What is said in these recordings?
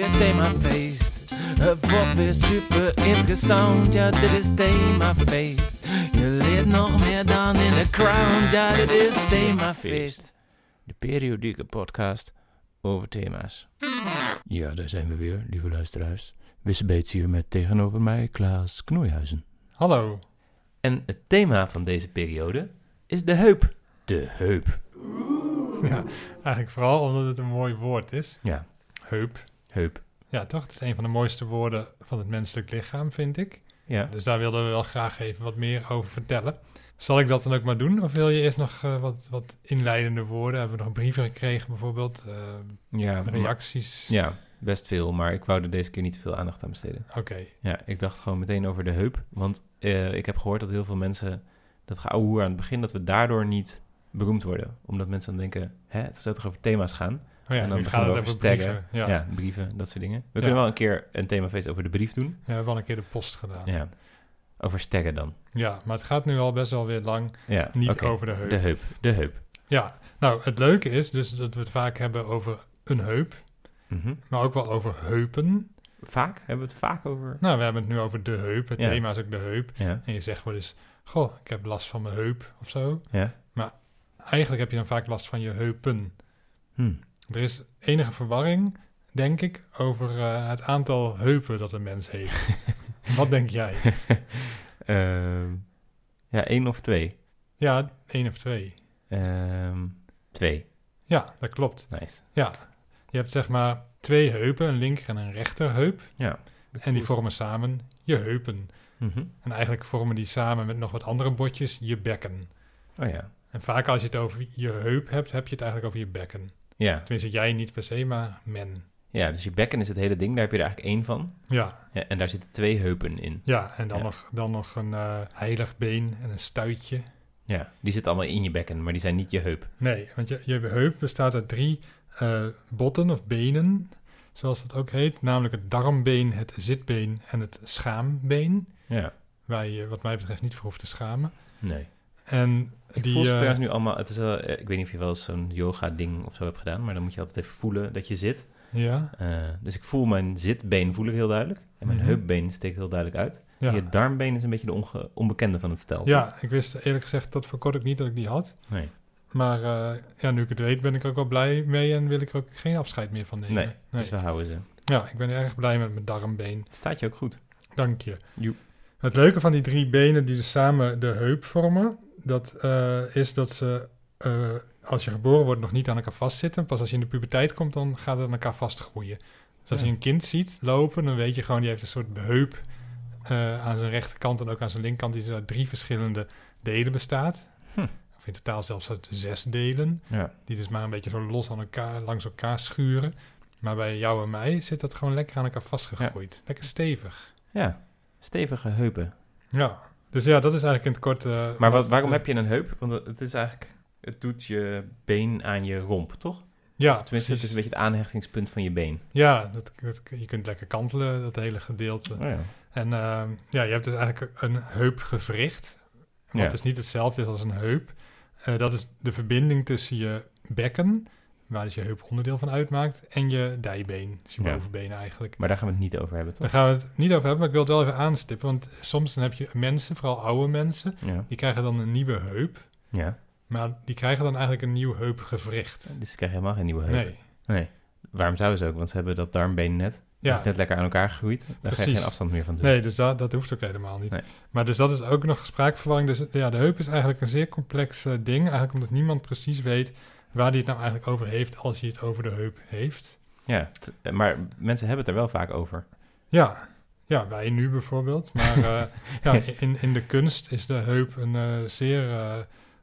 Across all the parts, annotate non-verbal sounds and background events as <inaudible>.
themafeest. Het wordt weer super interessant, ja dit is themafeest. Je leert nog meer dan in de crown, ja dit is themafeest. De periodieke podcast over thema's. Ja, daar zijn we weer, lieve luisteraars. Wissebeets hier met tegenover mij Klaas Knoeihuizen. Hallo. En het thema van deze periode is de heup. De heup. Ja, eigenlijk vooral omdat het een mooi woord is. Ja, Heup. heup. Ja, toch? Het is een van de mooiste woorden van het menselijk lichaam, vind ik. Ja. Dus daar wilden we wel graag even wat meer over vertellen. Zal ik dat dan ook maar doen? Of wil je eerst nog eh, wat, wat inleidende woorden? Hebben we nog brieven gekregen bijvoorbeeld? Eh, Ja, reacties? Ja, best veel, maar ik wou er deze keer niet te veel aandacht aan besteden. Oké. Ja, ik dacht gewoon meteen over de heup. Want eh, ik heb gehoord dat heel veel mensen dat geouwehoer aan het begin, dat we daardoor niet beroemd worden. Omdat mensen dan denken, hè, het zou toch over thema's gaan? Oh ja, en dan nu beginnen gaat we het over over staggen. brieven. Ja. Ja, Ja, brieven, dat soort dingen. We Ja. kunnen wel een keer een themafeest over de brief doen. we hebben al een keer de post gedaan. Ja. Ja, over sterren dan. maar het gaat nu al best wel weer lang Ja, niet oké. over de heup. De heup, de heup. Ja, nou, het leuke is dus dat we het vaak hebben over een heup, Mhm. maar ook wel over heupen. Vaak? Hebben we het vaak over? Nou, we hebben het nu over de heup. Het Ja. thema is ook de heup. Ja, En je zegt wel eens, goh, ik heb last van mijn heup of zo. ja. Eigenlijk heb je dan vaak last van je heupen. Hm. Er is enige verwarring, denk ik, over eh, het aantal heupen dat een <laughs> mens heeft. Wat denk jij? Ehm, ja, één of twee. Ja, één of twee. Ehm, twee, Ja, dat klopt. nice. Je hebt zeg maar twee heupen, een linker en een rechterheup. Ja. En die vormen samen je heupen. Mhm. En eigenlijk vormen die samen met nog wat andere botjes je bekken. Oh ja. En vaak als je het over je heup hebt, heb je het eigenlijk over je bekken. ja. Tenminste, jij niet per se, maar men. Ja, dus je bekken is het hele ding, daar heb je er eigenlijk één van. Ja, Ja, en daar zitten twee heupen in. ja en dan, Ja. Nog, dan nog een eh, heilig been en een stuitje. Ja, die zitten allemaal in je bekken, maar die zijn niet je heup. Nee, want je, je heup bestaat uit drie eh, botten of benen, zoals dat ook heet. Namelijk het darmbeen, het zitbeen en het schaambeen. Ja. Waar je wat mij betreft niet voor hoeft te schamen. Nee. En Ik die, voel ze eh, trouwens nu allemaal... Het is wel, eh, ik weet niet of je wel eens zo'n yoga-ding of zo hebt gedaan... maar dan moet je altijd even voelen dat je zit. ja, Eh, dus ik voel mijn zitbeen voel ik heel duidelijk. En mijn Mhm. heupbeen steekt heel duidelijk uit. ja. Je darmbeen is een beetje de onge- onbekende van het stel. ja, ik wist eerlijk gezegd tot voor kort ook niet dat ik die had. Nee. Maar eh, ja, nu ik het weet ben ik er ook wel blij mee en wil ik er ook geen afscheid meer van nemen. Nee, Dus we houden ze. Ja, ik ben erg blij met mijn darmbeen. Staat je ook goed. Dank je. Joep. Het leuke van die drie benen die dus samen de heup vormen, dat eh, is dat ze eh, als je geboren wordt nog niet aan elkaar vastzitten. Pas als je in de puberteit komt, dan gaat het aan elkaar vastgroeien. Dus als Ja. je een kind ziet lopen, dan weet je gewoon, die heeft een soort heup eh, aan zijn rechterkant en ook aan zijn linkerkant, die dus uit drie verschillende delen bestaat. Hm. Of in totaal zelfs uit zes delen Ja. die dus maar een beetje zo los aan elkaar, langs elkaar schuren. Maar bij jou en mij zit dat gewoon lekker aan elkaar vastgegroeid. Lekker stevig. Ja. Stevige heupen. Ja. Dus ja, dat is eigenlijk in het kort. eh, Maar wat, waarom de- heb je een heup? Want het is eigenlijk, het doet je been aan je romp, toch? Ja, Tenminste, het is een beetje het aanhechtingspunt van je been. Ja, dat, dat- je kunt lekker kantelen, dat hele gedeelte. Oh ja. En eh, ja, je hebt dus eigenlijk een heupgewricht. Wat Ja. dus niet hetzelfde is als een heup. Eh, dat is de verbinding tussen je bekken, waar dus je heup onderdeel van uitmaakt, en je dijbeen, dus je Ja. bovenbeen eigenlijk. Maar daar gaan we het niet over hebben, toch? Daar gaan we het niet over hebben, maar ik wil het wel even aanstippen. Want soms dan heb je mensen, vooral oude mensen, Ja. die krijgen dan een nieuwe heup. ja. Maar die krijgen dan eigenlijk een nieuw heupgewricht. Dus ze krijgen helemaal geen nieuwe heup. Nee, Waarom zouden ze ook? Want ze hebben dat darmbeen net. Dat ja. is net lekker aan elkaar gegroeid. Daar krijg je Precies. geen afstand meer van doen. nee dus dat, dat hoeft ook helemaal niet. Nee. Maar dus dat is ook nog spraakverwarring. Dus ja, de heup is eigenlijk een zeer complex eh, ding. Eigenlijk omdat niemand precies weet waar die het nou eigenlijk over heeft als hij het over de heup heeft. Ja, t- maar mensen hebben het er wel vaak over. Ja, ja wij nu bijvoorbeeld. Maar eh, ja, in, in de kunst is de heup een eh, zeer eh,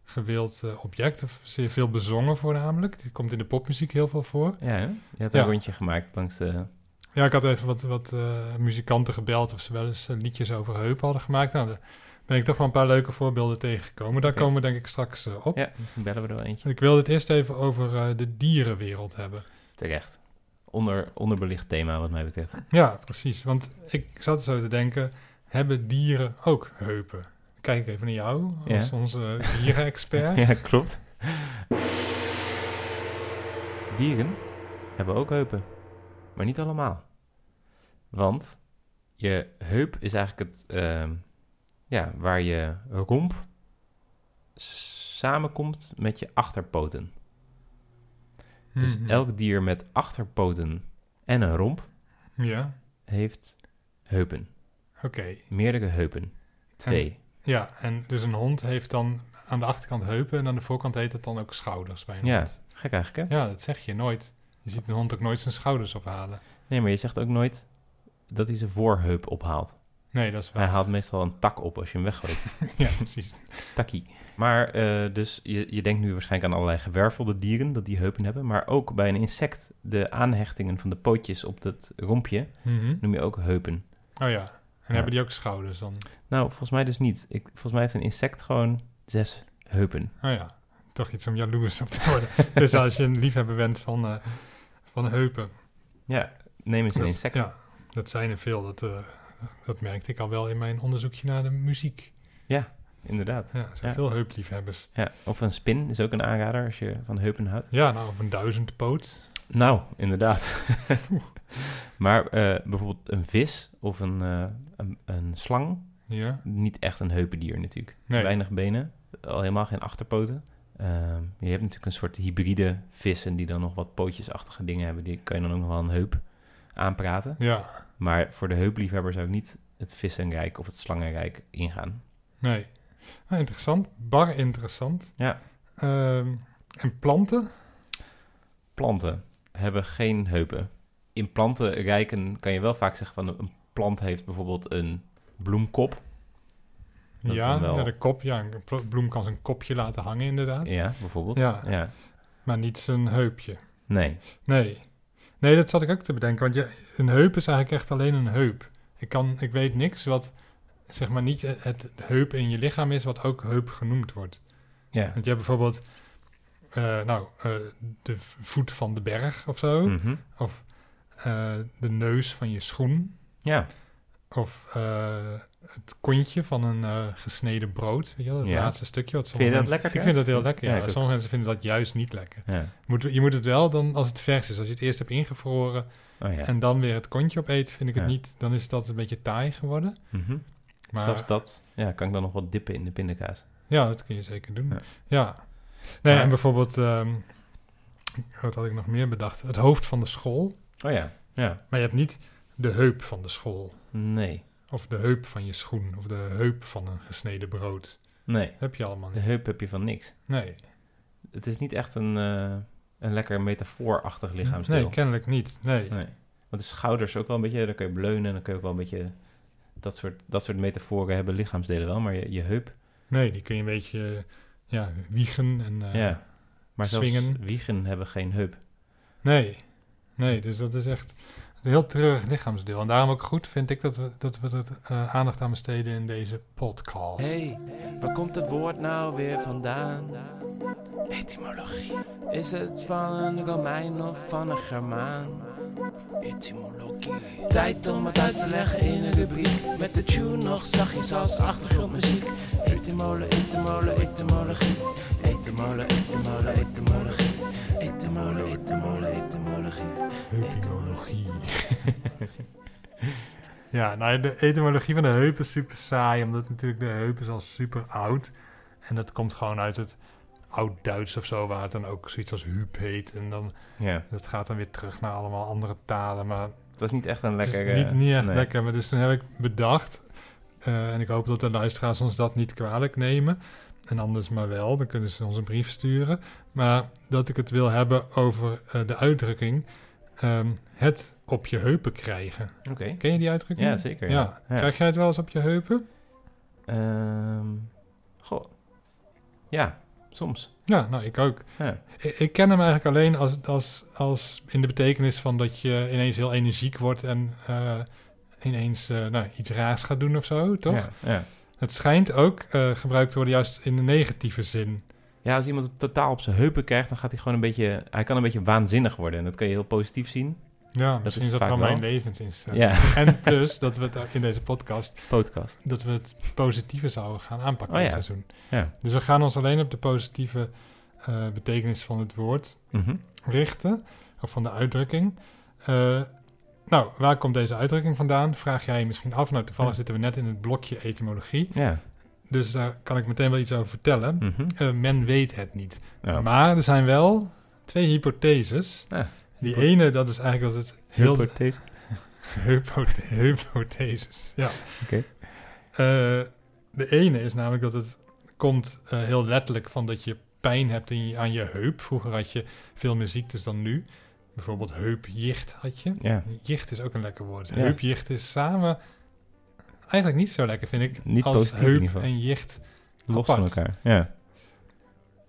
gewild eh, object. Of zeer veel bezongen voornamelijk. Dit komt in de popmuziek heel veel voor. Ja, hè? je hebt een Ja. rondje gemaakt langs de... Ja, ik had even wat, wat eh, muzikanten gebeld of ze wel eens eh, liedjes over heup hadden gemaakt. Nou, daar ben ik toch wel een paar leuke voorbeelden tegengekomen. Daar Oké. komen we denk ik straks eh, op. Ja, misschien bellen we er wel eentje. Ik wil het eerst even over eh, de dierenwereld hebben. Terecht. Onder, onderbelicht thema wat mij betreft. Ja, precies. Want ik zat zo te denken, hebben dieren ook heupen? Kijk even naar jou, Ja. als onze dierenexpert. <laughs> Ja, klopt. Dieren hebben ook heupen, maar niet allemaal. Want je heup is eigenlijk het, ehm, ja, waar je romp s- samenkomt met je achterpoten. Dus Mhm. elk dier met achterpoten en een romp Ja, heeft heupen. oké. Meerdere heupen. Twee. Ja, en dus een hond heeft dan aan de achterkant heupen en aan de voorkant heet het dan ook schouders bij een Ja. hond. Gek eigenlijk, hè? Ja, dat zeg je nooit. Je ziet een hond ook nooit zijn schouders ophalen. Nee, maar je zegt ook nooit dat hij zijn voorheup ophaalt. Nee, dat is waar. Hij haalt meestal een tak op als je hem weggooit. <laughs> Ja, precies. Takkie. Maar eh, dus je, je denkt nu waarschijnlijk aan allerlei gewervelde dieren dat die heupen hebben. Maar ook bij een insect, de aanhechtingen van de pootjes op dat rompje Mhm. noem je ook heupen. Oh ja, en Ja. hebben die ook schouders dan? Nou, volgens mij dus niet. Ik, volgens mij heeft een insect gewoon zes heupen. Oh ja, toch iets om jaloers op te worden. <laughs> dus als je een liefhebber bent van, eh, van heupen. Ja, neem eens een Dat- insect. Ja, dat zijn er veel. Dat, eh, dat merkte ik al wel in mijn onderzoekje naar de muziek. Inderdaad. Ja, er zijn Ja. veel heupliefhebbers. Ja, of een spin is ook een aanrader als je van heupen houdt. Ja, nou, of een duizendpoot. Nou, inderdaad. <laughs> maar eh, bijvoorbeeld een vis of een, eh, een, een slang, Ja, niet echt een heupendier natuurlijk. nee. Weinig benen, al helemaal geen achterpoten. Ehm, je hebt natuurlijk een soort hybride vissen die dan nog wat pootjesachtige dingen hebben. Die kan je dan ook nog wel een heup aanpraten. Ja, Maar voor de heupliefhebber zou ik niet het vissenrijk of het slangenrijk ingaan. nee. Nou, interessant. Bar interessant. Ja. Ehm, en planten? Planten hebben geen heupen. In plantenrijken kan je wel vaak zeggen van een plant heeft bijvoorbeeld een bloemkop. Dat is ja, dan wel- ja, de kop. Ja, een pl- bloem kan zijn kopje laten hangen inderdaad. Ja, bijvoorbeeld. Ja. ja. Maar niet zijn heupje. Nee. Nee. Nee, dat zat ik ook te bedenken. Want je, een heup is eigenlijk echt alleen een heup. Ik, kan, ik weet niks wat zeg maar niet het, het heup in je lichaam is, wat ook heup genoemd wordt. Ja. Want je hebt bijvoorbeeld, eh, nou, eh, de v- voet van de berg of zo. Mhm. Of eh, de neus van je schoen. Ja. Of eh, het kontje van een eh, gesneden brood. Weet je wel, het Ja. laatste stukje. Wat Vind je dat sommige lekker, mensen- Ik vind dat Thijs? heel lekker, Ja, ja. ik ook. Sommige mensen vinden dat juist niet lekker. ja. Moet, je moet het wel dan als het vers is. Als je het eerst hebt ingevroren... Oh ja. En dan weer het kontje opeten, vind ik het Ja. niet. Dan is dat een beetje taai geworden. Mhm. Maar Zelfs dat ja, kan ik dan nog wat dippen in de pindakaas. ja, dat kun je zeker doen. Ja. Ja. Nee, Maar- en bijvoorbeeld, ehm, wat had ik nog meer bedacht? Het hoofd van de school. Oh ja. Ja. Maar je hebt niet de heup van de school. Nee. Of de heup van je schoen. Of de heup van een gesneden brood. Nee. Dat heb je allemaal De niet. heup heb je van niks. Nee. Het is niet echt een, eh, een lekker metafoorachtig lichaamsdeel. Nee, kennelijk niet. Nee. Nee. Want de schouders ook wel een beetje, daar kun je bleunen en dan kun je ook wel een beetje dat soort, dat soort metaforen hebben lichaamsdelen wel, maar je, je heup, Nee, die kun je een beetje eh, ja, wiegen. En, eh, ja. Maar zelfs swingen. wiegen hebben geen heup. Nee, nee, dus dat is echt een heel treurig lichaamsdeel. En daarom ook goed vind ik dat we, dat we er eh, aandacht aan besteden in deze podcast. hey, waar komt het woord nou weer vandaan? Etymologie. Is het van een Romein of van een Germaan? Etymologie. Tijd om het uit te leggen in een rubriek. Met de tune nog zachtjes als achtergrondmuziek. Etymole, etymole, etymologie. Etymole, etymole, etymologie. Etymole, etymole, etymologie. Heupimologie. <laughs> ja, nou, de etymologie van de heup is super saai, omdat natuurlijk de heup is al super oud. En dat komt gewoon uit het oud-Duits of zo, waar het dan ook zoiets als huub heet. En dan, Ja, dat gaat dan weer terug naar allemaal andere talen, maar het was niet echt een eh, Het is Dus Niet, niet echt lekker, maar dus toen heb ik bedacht, eh, en ik hoop dat de luisteraars ons dat niet kwalijk nemen, en anders maar wel, dan kunnen ze ons een brief sturen, maar dat ik het wil hebben over eh, de uitdrukking ehm, het op je heupen krijgen. Oké. Ken je die uitdrukking? Ja, zeker. Ja. Krijg jij het wel eens op je heupen? Ehm goh. Ja, soms. Ja, nou, ik ook. Ja. Ik, ik ken hem eigenlijk alleen als, als, als in de betekenis van dat je ineens heel energiek wordt en eh, ineens eh, nou, iets raars gaat doen of zo, toch? Ja, ja. Het schijnt ook eh, gebruikt te worden juist in de negatieve zin. ja, als iemand het totaal op zijn heupen krijgt, dan gaat hij gewoon een beetje... Hij kan een beetje waanzinnig worden. En dat kan je heel positief zien. Ja, is misschien het is dat vaak gewoon wel. mijn levensinstelling. Ja, <laughs> En plus dat we het ook in deze podcast, podcast. dat we het positieve zouden gaan aanpakken Oh dit ja. seizoen. Ja. Dus we gaan ons alleen op de positieve eh, betekenis van het woord Mhm. richten, of van de uitdrukking. Eh, Nou, waar komt deze uitdrukking vandaan? Vraag jij je misschien af. Nou, toevallig Ja. zitten we net in het blokje etymologie. Ja. Dus daar kan ik meteen wel iets over vertellen. Mhm. Nou, Eh, men weet het niet. Ja. Maar er zijn wel twee hypotheses. Ja. Die ene, dat is eigenlijk dat het heel... <laughs> Hypothese. Hypothe- hypotheses, ja. Oké. Eh, de ene is namelijk dat het komt eh, heel letterlijk van dat je pijn hebt in je, aan je heup. Vroeger had je veel meer ziektes dan nu. Bijvoorbeeld heupjicht had je. Ja. Jicht is ook een lekker woord. Ja. Heupjicht is samen eigenlijk niet zo lekker, vind ik. Niet als positief in heup ieder geval. en jicht. Los apart. van elkaar. Ja.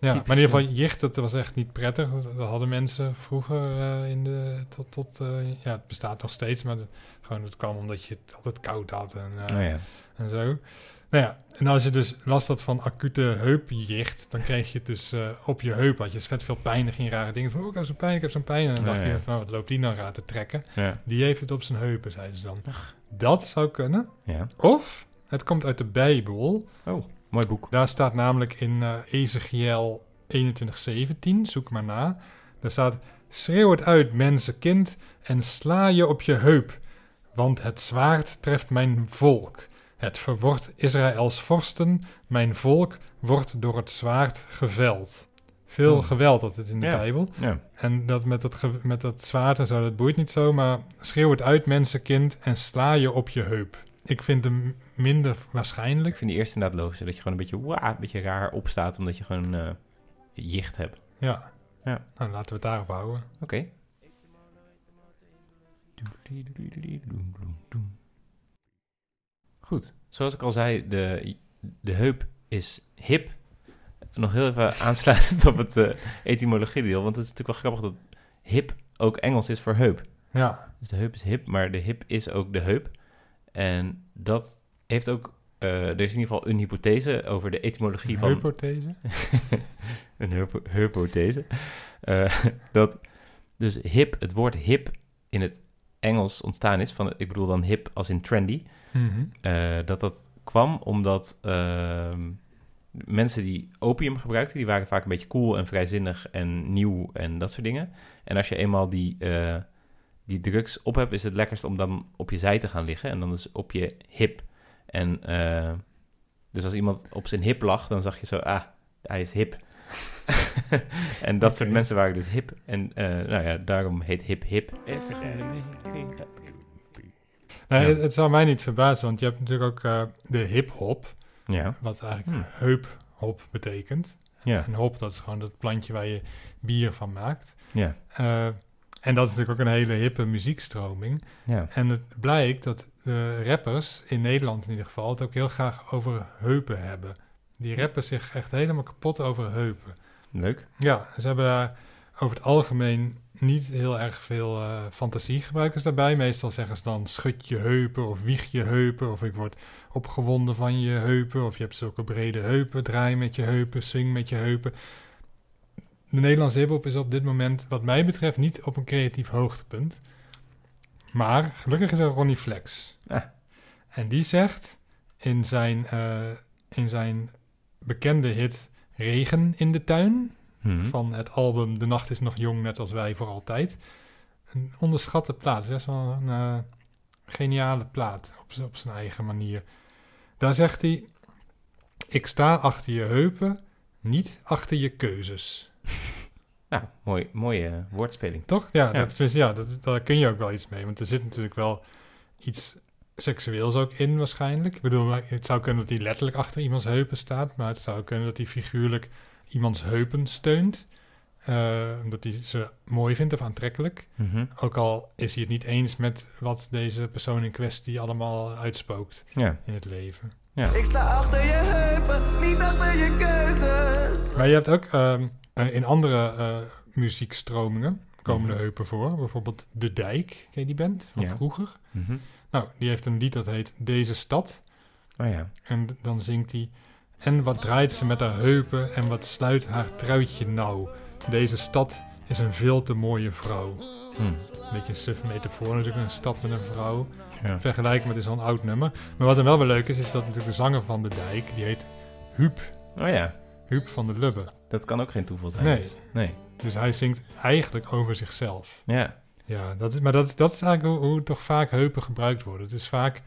Ja, Typisch, eh, maar in ieder ja. geval, jicht, dat was echt niet prettig. Dat hadden mensen vroeger eh, in de... Tot, tot, eh, ja, het bestaat nog steeds, maar de- gewoon het kwam omdat je het altijd koud had en, eh, Nou ja. en zo. Nou ja, en als je dus last had van acute heupjicht, dan kreeg je het dus eh, op je heup. Had je dus vet veel pijn, dan ging je rare dingen van, oh, ik heb zo'n pijn, ik heb zo'n pijn. En dan Ja, dacht ja. je van, wat loopt die nou raar te trekken? Ja. Die heeft het op zijn heupen, zeiden ze dan. Dat zou kunnen. ja. Of, het komt uit de Bijbel. Oh, mooi boek. Daar staat namelijk in eh, Ezekiel 21:17, zoek maar na. Daar staat: Schreeuw het uit, mensenkind, en sla je op je heup, want het zwaard treft mijn volk. Het verwort Israëls vorsten, mijn volk wordt door het zwaard geveld. Veel Hmm. geweld had het in de Ja. Bijbel. Ja. En dat met, dat ge- met dat zwaard en zo, dat boeit niet zo. Maar schreeuw het uit, mensenkind, en sla je op je heup. Ik vind hem minder waarschijnlijk. Ik vind die eerste inderdaad logisch. Dat je gewoon een beetje, waa, een beetje raar opstaat omdat je gewoon eh jicht hebt. Ja. Ja. Nou, laten we het daarop houden. Oké. Goed. Zoals ik al zei, de, de heup is hip. Nog heel even <laughs> aansluitend op het eh etymologiedeel. Want het is natuurlijk wel grappig dat hip ook Engels is voor heup. Ja. Dus de heup is hip, maar de hip is ook de heup. En dat heeft ook... eh, er is in ieder geval een hypothese over de etymologie van... <laughs> Hypothese. een heupo- hypothese. Eh, <laughs> dat dus hip, het woord hip in het Engels ontstaan is. Van, ik bedoel dan hip als in trendy. Mhm. eh, dat dat kwam omdat ehm, mensen die opium gebruikten... die waren vaak een beetje cool en vrijzinnig en nieuw en dat soort dingen. En als je eenmaal die, eh, die drugs op hebt... is het lekkerst om dan op je zij te gaan liggen. En dan dus op je hip. En eh, dus als iemand op zijn hip lag... dan zag je zo, ah, hij is hip. <laughs> en dat soort Oké. mensen waren dus hip. En eh, nou ja, daarom heet hip hip. Nou, Ja. het, het zou mij niet verbazen, want je hebt natuurlijk ook eh, de hip-hop, Ja, wat Hmm. eigenlijk heuphop betekent. ja, En hop, dat is gewoon dat plantje waar je bier van maakt. ja, Eh, en dat is natuurlijk ook een hele hippe muziekstroming. ja. En het blijkt dat de rappers, in Nederland in ieder geval, het ook heel graag over heupen hebben. Die rappen zich echt helemaal kapot over heupen. Leuk. Ja, ze hebben daar over het algemeen niet heel erg veel eh, fantasie gebruikers daarbij. Meestal zeggen ze dan schud je heupen of wieg je heupen of ik word opgewonden van je heupen of je hebt zulke brede heupen, draai met je heupen, swing met je heupen. De Nederlandse hiphop is op dit moment wat mij betreft niet op een creatief hoogtepunt. Maar gelukkig is er Ronnie Flex. Ah. En die zegt in zijn, eh, in zijn bekende hit Regen in de tuin Hm. van het album De Nacht is nog jong, net als wij voor altijd. Een onderschatte plaat. Best wel een eh, geniale plaat op, z'n- op zijn eigen manier. Daar zegt hij: Ik sta achter je heupen, niet achter je keuzes. Nou, mooi, mooie eh, woordspeling. Toch? Ja, Ja. Dat, tenminste, ja dat, daar kun je ook wel iets mee. Want er zit natuurlijk wel iets seksueels ook in, waarschijnlijk. Ik bedoel, maar het zou kunnen dat hij letterlijk achter iemands heupen staat. Maar het zou kunnen dat hij figuurlijk iemands heupen steunt. eh, omdat hij ze mooi vindt of aantrekkelijk. Mhm. Ook al is hij het niet eens met wat deze persoon in kwestie allemaal uitspookt Ja, in het leven. Ik sta achter je heupen, niet achter je keuzes. Maar je hebt ook ehm, eh, in andere eh, muziekstromingen komen de Mhm. heupen voor. Bijvoorbeeld De Dijk, ken je die band van Ja. vroeger? Mhm. Nou, die heeft een lied dat heet Deze Stad. oh ja. En d- dan zingt hij... En wat draait ze met haar heupen en wat sluit haar truitje nou? Deze stad is een veel te mooie vrouw. Hm. Een beetje een suffe metafoor natuurlijk, een stad met een vrouw. ja. Vergelijken met is al een oud nummer. Maar wat dan wel weer leuk is, is dat natuurlijk de zanger van de dijk, die heet Huub. Oh ja, Huub van de Lubbe. dat kan ook geen toeval zijn. Nee. dus. nee. Dus hij zingt eigenlijk over zichzelf. Ja. Ja, dat is, maar dat, is- dat is eigenlijk hoe, hoe toch vaak heupen gebruikt worden. Het is vaak,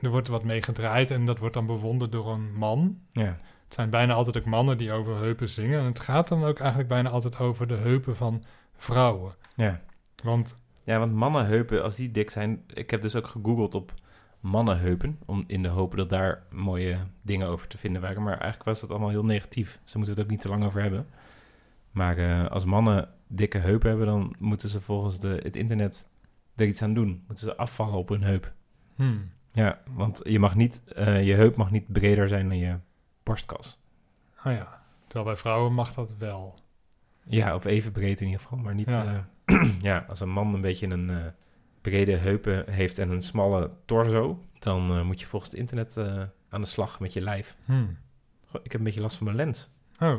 er wordt wat mee gedraaid en dat wordt dan bewonderd door een man. Ja. Het zijn bijna altijd ook mannen die over heupen zingen. En het gaat dan ook eigenlijk bijna altijd over de heupen van vrouwen. Ja. Want ja, want mannenheupen, als die dik zijn... Ik heb dus ook gegoogeld op mannenheupen... om in de hoop dat daar mooie dingen over te vinden waren. Maar eigenlijk was dat allemaal heel negatief. Ze moeten we het ook niet te lang over hebben. Maar eh, als mannen dikke heupen hebben... dan moeten ze volgens de, het internet er iets aan doen. Moeten ze afvallen op hun heup. hmm, Ja, want je, mag niet, eh, je heup mag niet breder zijn dan je borstkas. ah ja, terwijl bij vrouwen mag dat wel. Ja, of even breed in ieder geval, maar niet... eh, <clears throat> Ja. ja, als een man een beetje een eh, brede heupen heeft en een smalle torso, dan eh, moet je volgens het internet eh, aan de slag met je lijf. Hmm. Goh, ik heb een beetje last van mijn lens. Oh,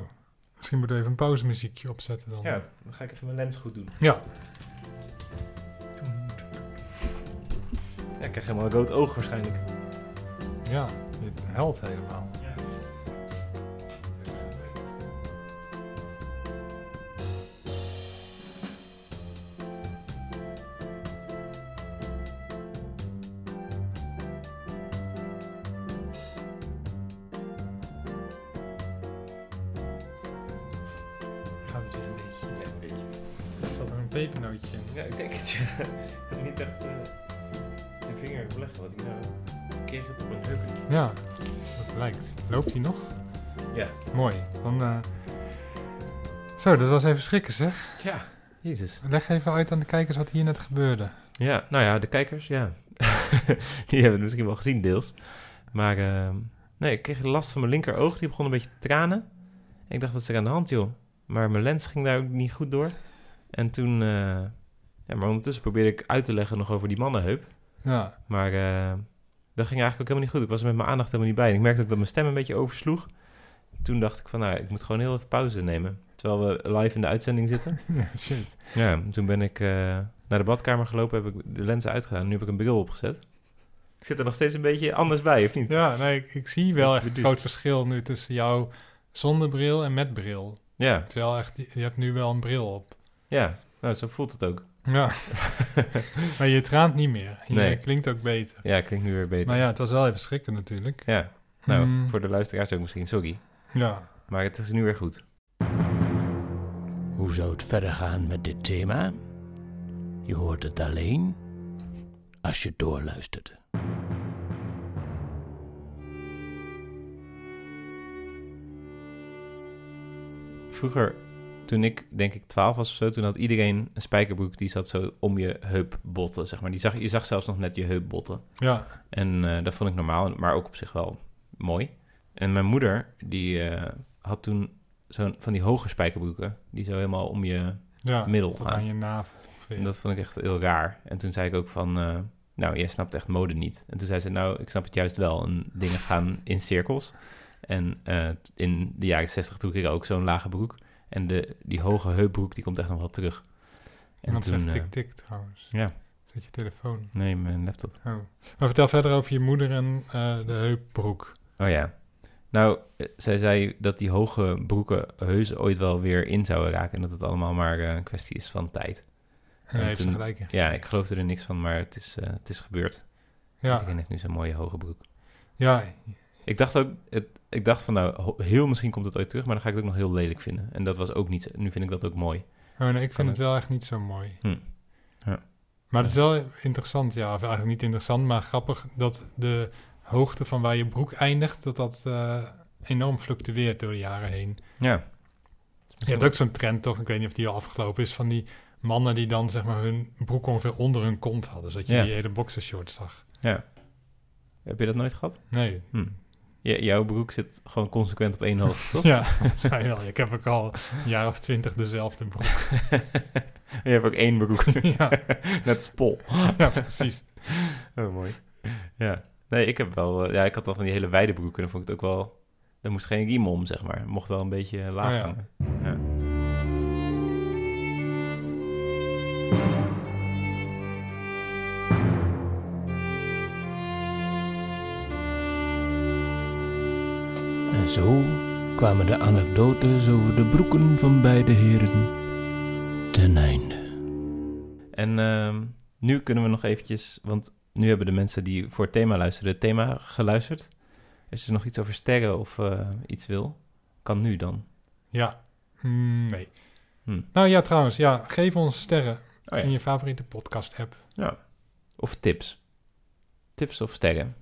misschien moeten we even een pauzemuziekje opzetten dan. Ja, dan ga ik even mijn lens goed doen. Ja. Ja, ik krijg helemaal een rood oog waarschijnlijk. Ja, dit helpt helemaal. Gaat het weer een beetje. Ja, een beetje. Zat er een pepernootje in? Ja, ik denk het, ja. <laughs> Ik heb niet echt eh de vinger opleggen wat ik nou... Ik kreeg het op mijn heupen. Ja, dat lijkt. Loopt hij nog? Ja. Mooi. Dan, eh, Zo, dat was even schrikken zeg. Ja. Jezus. Leg even uit aan de kijkers wat hier net gebeurde. Ja, nou ja, de kijkers, ja. <laughs> die hebben het misschien wel gezien, deels. Maar ehm, nee, ik kreeg last van mijn linkeroog. Die begon een beetje te tranen. En ik dacht, wat is er aan de hand, joh? Maar mijn lens ging daar ook niet goed door. En toen... eh, ja, maar ondertussen probeerde ik uit te leggen nog over die mannenheup. Ja, <laughs> Maar eh, dat ging eigenlijk ook helemaal niet goed. Ik was er met mijn aandacht helemaal niet bij. En ik merkte ook dat mijn stem een beetje oversloeg. Toen dacht ik van, nou, ik moet gewoon heel even pauze nemen. Terwijl we live in de uitzending zitten. Ja, shit. Ja, en toen ben ik eh, naar de badkamer gelopen, heb ik de lenzen uitgedaan. Nu heb ik een bril opgezet. Ik zit er nog steeds een beetje anders bij, of niet? Ja, nee, ik, ik zie wel Beetje echt een beduusd. groot verschil nu tussen jou zonder bril en met bril. Ja, Terwijl echt, je je hebt nu wel een bril op. ja. Nou, zo voelt het ook. <laughs> Ja. maar je traant niet meer. Je Nee. klinkt ook beter. Ja, klinkt nu weer beter. Maar ja, het was wel even schrikken natuurlijk. Ja, nou, Hmm, voor de luisteraars ook misschien, sorry. Ja. Maar het is nu weer goed. Hoe zou het verder gaan met dit thema? Je hoort het alleen als je doorluistert. Vroeger, toen ik denk ik 12 was of zo, toen had iedereen een spijkerbroek die zat zo om je heupbotten, zeg maar. Die zag, je zag zelfs nog net je heupbotten. Ja. En eh, dat vond ik normaal, maar ook op zich wel mooi. En mijn moeder, die eh, had toen zo'n van die hoge spijkerbroeken, die zo helemaal om je ja. middel Tot gaan. aan je navel. ongeveer. En dat vond ik echt heel raar. En toen zei ik ook van, eh, nou, jij snapt echt mode niet. En toen zei ze, nou, ik snap het juist wel. En dingen gaan in cirkels. En eh, in de jaren zestig droeg ik ook zo'n lage broek. En de, die hoge heupbroek, die komt echt nog wel terug. En Iemand toen, zegt eh, tik-tik trouwens. ja. Zet je telefoon. nee, mijn laptop. Oh. Maar vertel verder over je moeder en eh, de heupbroek. Oh ja. Nou, eh, zij zei dat die hoge broeken heus ooit wel weer in zouden raken. En dat het allemaal maar eh, een kwestie is van tijd. En En daar heeft ze toen- gelijk in. Ja, ik geloofde er niks van, maar het is, eh, het is gebeurd. Ja, Iedereen heeft nu zo'n mooie hoge broek. ja, Ik dacht ook, het, ik dacht van nou, ho- heel misschien komt het ooit terug, maar dan ga ik het ook nog heel lelijk vinden. En dat was ook niet, zo- nu vind ik dat ook mooi. Oh, Dus nee, ik het kan vind het wel echt niet zo mooi. Hm. Ja. Maar het is wel interessant, ja. Of eigenlijk niet interessant, maar grappig dat de hoogte van waar je broek eindigt, dat dat eh, enorm fluctueert door de jaren heen. Ja. Je hebt ook zo'n trend, toch? Ik weet niet of die al afgelopen is, van die mannen die dan zeg maar hun broek ongeveer onder hun kont hadden. Zodat je Ja. die hele boxershort zag. Heb je dat nooit gehad? Nee. J- jouw broek zit gewoon consequent op één hoogte, <laughs> toch? <laughs> Ja, zei wel. Ik heb ook al een jaar of twintig dezelfde <laughs> broek. je hebt ook één broek, ja, <laughs> net spol. ja, precies. Oh, mooi. <laughs> Ja. Nee, ik heb wel... eh, ja, ik had al van die hele wijde broeken. Dan vond ik het ook wel... Daar moest geen riem om, zeg maar. Mocht wel een beetje eh, laag Oh, ja. hangen. En zo kwamen de anekdotes over de broeken van beide heren ten einde. En ehm, nu kunnen we nog eventjes, want nu hebben de mensen die voor het thema luisteren het thema geluisterd. Als er nog iets over sterren of eh, iets wil, kan nu dan. Ja, Mm, nee. Hm. Nou ja, trouwens, ja, geef ons sterren Oh ja. in je favoriete podcast-app. Of tips. Tips of sterren.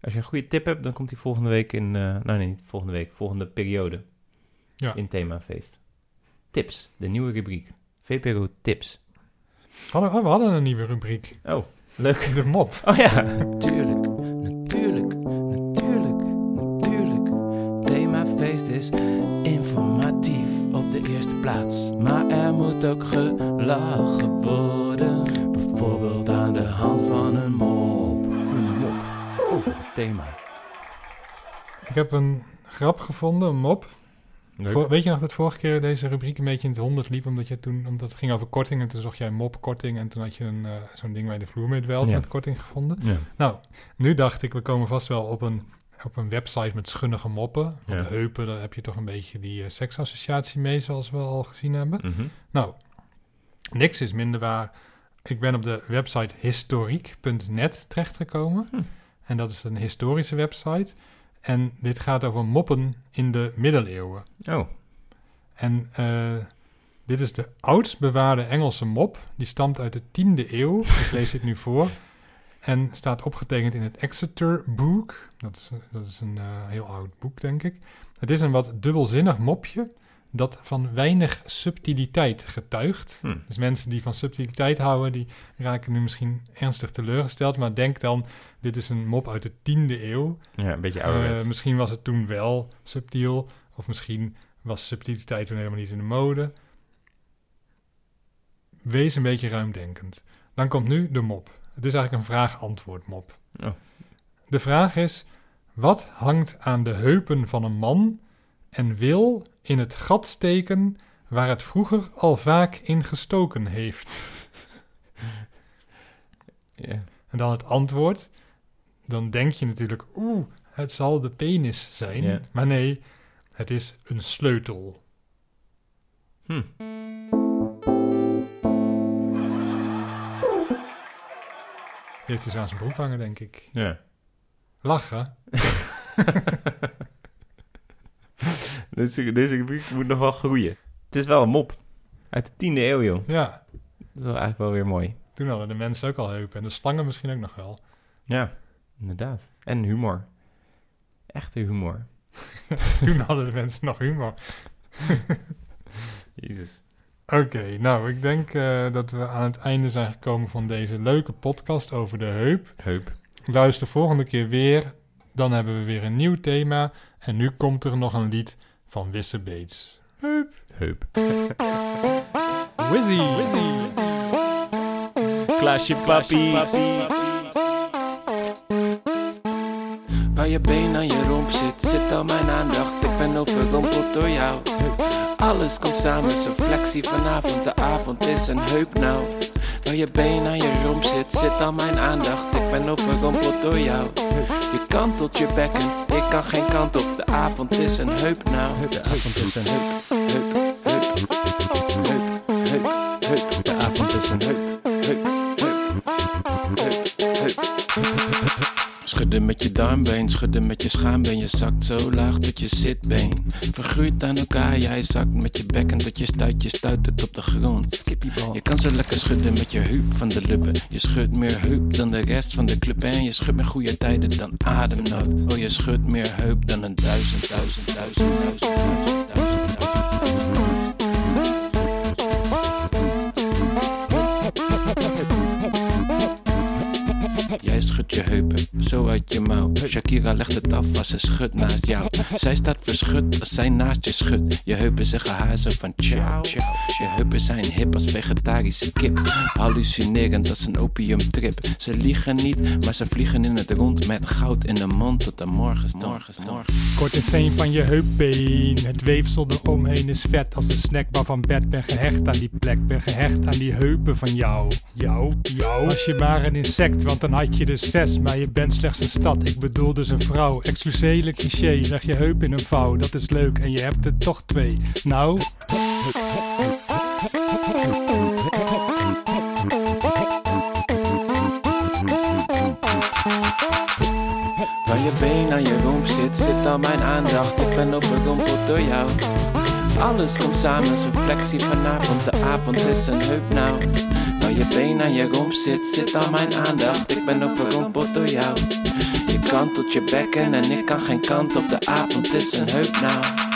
Als je een goede tip hebt, dan komt die volgende week in... eh, nou nee, niet volgende week. Volgende periode. Ja. In themafeest. Tips. De nieuwe rubriek. VPRO Tips. Hadden, oh, we hadden een nieuwe rubriek. Oh, leuk. <laughs> De mop. Oh ja. Natuurlijk, natuurlijk, natuurlijk, natuurlijk. Themafeest is informatief op de eerste plaats. Maar er moet ook gelachen worden. Bijvoorbeeld aan de hand van een mop. Een mop over het thema. Ik heb een grap gevonden, een mop. Leuk. Voor- weet je nog dat vorige keer deze rubriek een beetje in het honderd liep, omdat, je toen, omdat het ging over korting en toen zocht jij mopkorting en toen had je een, eh, zo'n ding waar je de vloer mee dweilt Ja. met korting gevonden. Ja. Nou, nu dacht ik, we komen vast wel op een, op een website met schunnige moppen. Want Ja. heupen, daar heb je toch een beetje die eh, seksassociatie mee, zoals we al gezien hebben. Mhm. Nou, niks is minder waar. Ik ben op de website historiek.net terechtgekomen. Hm. En dat is een historische website. En dit gaat over moppen in de middeleeuwen. Oh, En eh, dit is de oudst bewaarde Engelse mop. Die stamt uit de 10e eeuw. Ik lees dit nu voor. En staat opgetekend in het Exeter Book. Dat is, dat is een eh, heel oud boek, denk ik. Het is een wat dubbelzinnig mopje dat van weinig subtiliteit getuigt. Hm. Dus mensen die van subtiliteit houden, die raken nu misschien ernstig teleurgesteld. Maar denk dan, dit is een mop uit de 10e eeuw. ja, een beetje Eh, ouderwets. misschien was het toen wel subtiel. Of misschien was subtiliteit toen helemaal niet in de mode. Wees een beetje ruimdenkend. Dan komt nu de mop. Het is eigenlijk een vraag-antwoord mop. Oh. De vraag is: wat hangt aan de heupen van een man en wil in het gat steken waar het vroeger al vaak in gestoken heeft? Ja. En dan het antwoord. Dan denk je natuurlijk, oeh, het zal de penis zijn. Ja. Maar nee, het is een sleutel. Hm. Die heeft dus aan zijn broek hangen, denk ik. ja. Lachen. <laughs> Deze, deze rubriek moet nog wel groeien. Het is wel een mop. Uit de tiende eeuw, joh. Ja, Dat is wel eigenlijk wel weer mooi. toen hadden de mensen ook al heupen. En de slangen misschien ook nog wel. <laughs> Ja, inderdaad. En humor. Echte humor. toen hadden de mensen nog humor. Jezus. Oké, nou, ik denk eh, dat we aan het einde zijn gekomen van deze leuke podcast over de heup. Heup. Luister volgende keer weer. Dan hebben we weer een nieuw thema. En nu komt er nog een lied van Wisse Beets. Heup. Heup. Wizzy. Wizzy. Klaasje papi. Waar je been aan je romp zit, zit al mijn aandacht. Ik ben overrompeld door jou. Alles komt samen, zo flexie vanavond. De avond is een heup nou. Waar je been aan je romp zit, zit al mijn aandacht. Ik ben overrompeld door jou. Je kantelt je bekken, ik kan geen kant op. De avond is een heup nou. De avond is een heup. Heup, heup, heup, heup, heup. De avond is een heup, heup, heup, heup, heup. Schudden met je darmbeen, schudden met je schaambeen. Je zakt zo laag tot je zitbeen. Vergroeid aan elkaar, jij zakt met je bekken tot je stuit. Je stuit het op de grond. Skippyball. Je kan zo lekker schudden met je heup van de luppen. Je schudt meer heup dan de rest van de club. En je schudt meer goede tijden dan ademnood. Oh, je schudt meer heup dan een duizend, duizend, duizend, duizend, duizend, duizend, duizend. Jij schudt je heupen, zo uit je mouw. Shakira legt het af als ze schudt naast jou. Zij staat verschut als zij naast je schudt. Je heupen zeggen haar zo van ciao, ciao. Je heupen zijn hip als vegetarische kip. Hallucinerend als een opiumtrip. Ze liegen niet, maar ze vliegen in het rond met goud in de mond tot de morgens, morgens, morgens. Kort en seen van je heupbeen. Het weefsel eromheen is vet als de snackbar van bed. Ben gehecht aan die plek, ben gehecht aan die heupen van jou. Jou, jou. Was je maar een insect, want dan had je er zes. Maar je bent slechts een stad, ik bedoel dus een vrouw. Exclusele cliché, leg je heup in een vouw. Dat is leuk en je hebt er toch twee. Nou... je been aan je romp zit, zit al mijn aandacht. Ik ben overrompeld door jou. Alles komt samen, zo'n flexie vanavond. De avond is een heup nou. Waar je been aan je romp zit, zit al mijn aandacht. Ik ben overrompeld door jou. Je kantelt je bekken en ik kan geen kant op. De avond is een heup nou.